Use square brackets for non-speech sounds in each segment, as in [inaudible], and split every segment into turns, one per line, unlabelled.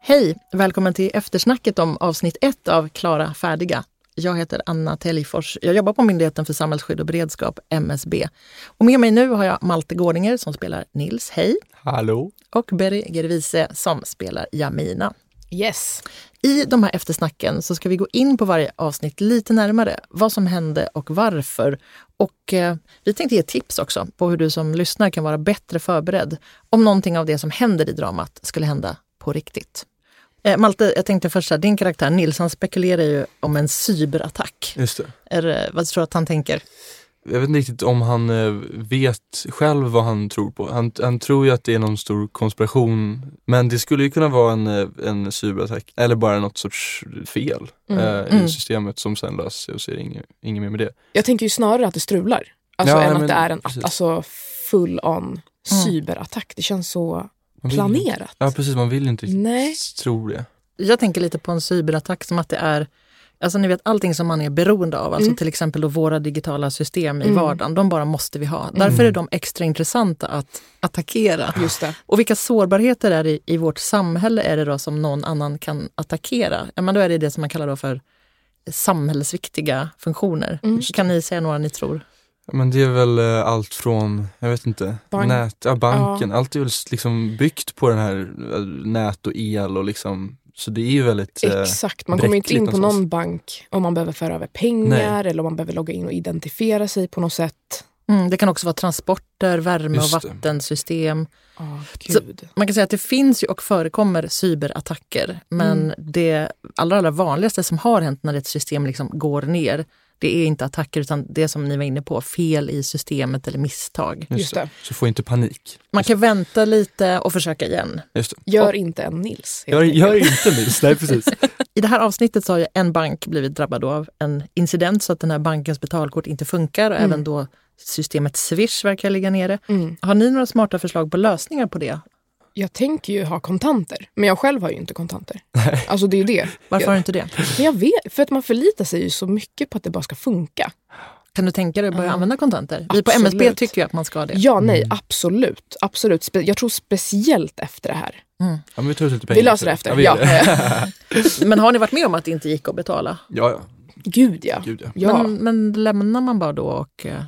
Hej! Välkommen till eftersnacket om avsnitt ett av Klara färdiga. Jag heter Anna Täljfors. Jag jobbar på Myndigheten för samhällsskydd och beredskap, MSB. Och med mig nu har jag Malte Gårdinger som spelar Nils, hej!
Hallå?
Och Berry Gervise som spelar Jamina.
Yes.
I de här eftersnacken så ska vi gå in på varje avsnitt lite närmare, vad som hände och varför. Och eh, vi tänkte ge tips också på hur du som lyssnar kan vara bättre förberedd om någonting av det som händer i dramat skulle hända på riktigt. Eh, Malte, jag tänkte först här, din karaktär Nils, han spekulerar ju om en cyberattack.
Just det.
Är, det- vad tror du att han tänker?
Jag vet inte riktigt om han eh, vet själv vad han tror på. Han, han tror ju att det är någon stor konspiration. Men det skulle ju kunna vara en, eh, en cyberattack eller bara något sorts fel
Mm.
eh, i
Mm.
systemet som sen löser sig och så är det inget, inget mer med det.
Jag tänker ju snarare att det strular. Alltså
Ja,
än
ja,
att
men
det är en
precis.
alltså, full on
Mm.
cyberattack. Det känns så
Man vill ju-
planerat.
Ja precis, man vill ju inte riktigt
Nej.
tro det.
Jag tänker lite på en cyberattack som att det är Alltså ni vet allting som man är beroende av, alltså
Mm.
till exempel då våra digitala system i
Mm.
vardagen, de bara måste vi ha. Därför är de extra intressanta att attackera.
Just det.
Och vilka sårbarheter är det i- i vårt samhälle är det då som någon annan kan attackera? Ja, men då är det det som man kallar då för samhällsviktiga funktioner.
Mm.
Kan ni säga några ni tror?
Men det är väl eh, allt från, jag vet inte,
Bank.
nät, ja, banken. Allt är väl s- liksom byggt på den här eh, nät och el och liksom, så det är ju väldigt eh,
Exakt. Man kommer inte in
bräckligt
på någon
någonstans.
bank om man behöver föra över pengar eller om man behöver logga in och identifiera sig på något sätt.
Mm, det kan också vara transporter, värme och
Just det.
vattensystem.
Oh,
Så-
gud.
Man kan säga att det finns ju och förekommer cyberattacker, men
Mm.
det allra, allra vanligaste som har hänt när ett system liksom går ner, det är inte attacker utan det som ni var inne på, fel i systemet eller misstag.
Just
Just det.
Så få inte panik.
Man kan vänta lite och försöka igen.
Just det.
Gör inte en Nils. helt
Gör,
enkelt.
gör inte Nils, nej precis.
[laughs]
I det här avsnittet så har ju en bank blivit drabbad då av en incident så att den här bankens betalkort inte funkar och
Mm.
även då systemet Swish verkar ligga nere.
Mm.
Har ni några smarta förslag på lösningar på det?
Jag tänker ju ha kontanter, men jag själv har ju inte kontanter. Alltså det är ju det.
Varför
Ja.
har du inte det?
Men jag vet, för att man förlitar sig ju så mycket på att det bara ska funka.
Kan du tänka dig att börja
Ja.
använda kontanter? Vi på
Absolut.
MSB tycker ju att man ska det.
Ja, nej,
Mm.
absolut. absolut. Spe- Jag tror speciellt efter det här.
Ja, men vi tar ut lite pengar.
Vi löser det efter.
vi
Ja,
gör det.
Men har ni varit med om att det inte gick att betala?
ja, ja.
[laughs] Gud ja.
Gud, ja.
Ja.
Men, men lämnar man bara då och eh,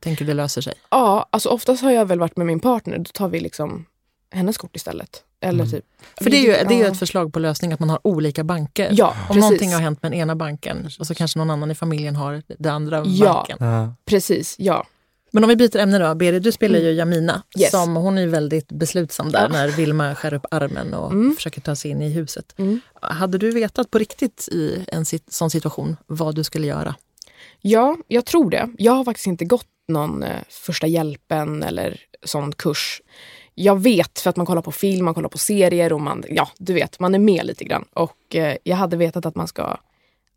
tänker det löser sig?
ja, alltså oftast har jag väl varit med min partner. Då tar vi liksom hennes kort istället. Eller
Mm.
typ.
För det är ju,
Ja.
det är ju ett förslag på lösning att man har olika banker.
Ja,
Om någonting
precis.
har hänt med den ena banken och så kanske någon annan i familjen har den andra
Ja.
banken.
Ja.
precis ja.
Men om vi byter ämne då. Berit, du spelar ju Jamina.
Mm. Yes.
Som, hon är ju väldigt beslutsam där
Ja.
när Vilma skär upp armen och
Mm.
försöker ta sig in i huset.
Mm.
Hade du vetat på riktigt i en sit- sån situation vad du skulle göra?
Ja, jag tror det. Jag har faktiskt inte gått någon eh, första hjälpen eller sån kurs. Jag vet för att man kollar på film, man kollar på serier och man, ja, du vet, man är med lite grann. Och eh, jag hade vetat att man ska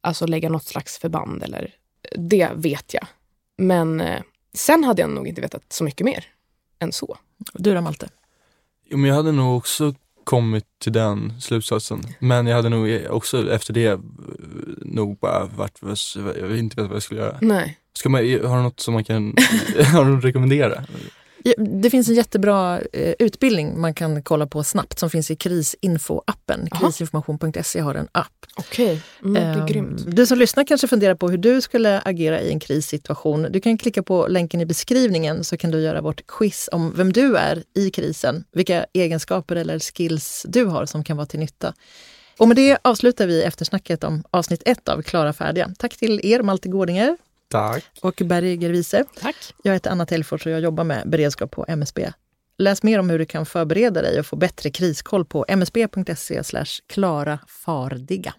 alltså, lägga något slags förband eller eh, det vet jag. Men eh, sen hade jag nog inte vetat så mycket mer än så.
Du då Malte?
Jo, men jag hade nog också kommit till den slutsatsen. Men jag hade nog också efter det eh, nog bara varit, jag vet inte vet vad jag skulle göra.
Nej.
Ska man, har du något som man kan, [laughs] har du något att rekommendera?
Ja, Det finns en jättebra eh, utbildning man kan kolla på snabbt som finns i krisinfo-appen.
Jaha.
Krisinformation.se har en app.
Okej, mm, det är
Ehm,
grymt.
Du som lyssnar kanske funderar på hur du skulle agera i en krissituation. Du kan klicka på länken i beskrivningen så kan du göra vårt quiz om vem du är i krisen. Vilka egenskaper eller skills du har som kan vara till nytta. Och med det avslutar vi eftersnacket om avsnitt ett av Klara färdiga. Tack till er Malte Gårdinger
Tack.
och Berg Gervise.
Tack.
Jag heter Anna Tellfors och jag jobbar med beredskap på MSB. Läs mer om hur du kan förbereda dig och få bättre kriskoll på msb.se klara E fardiga.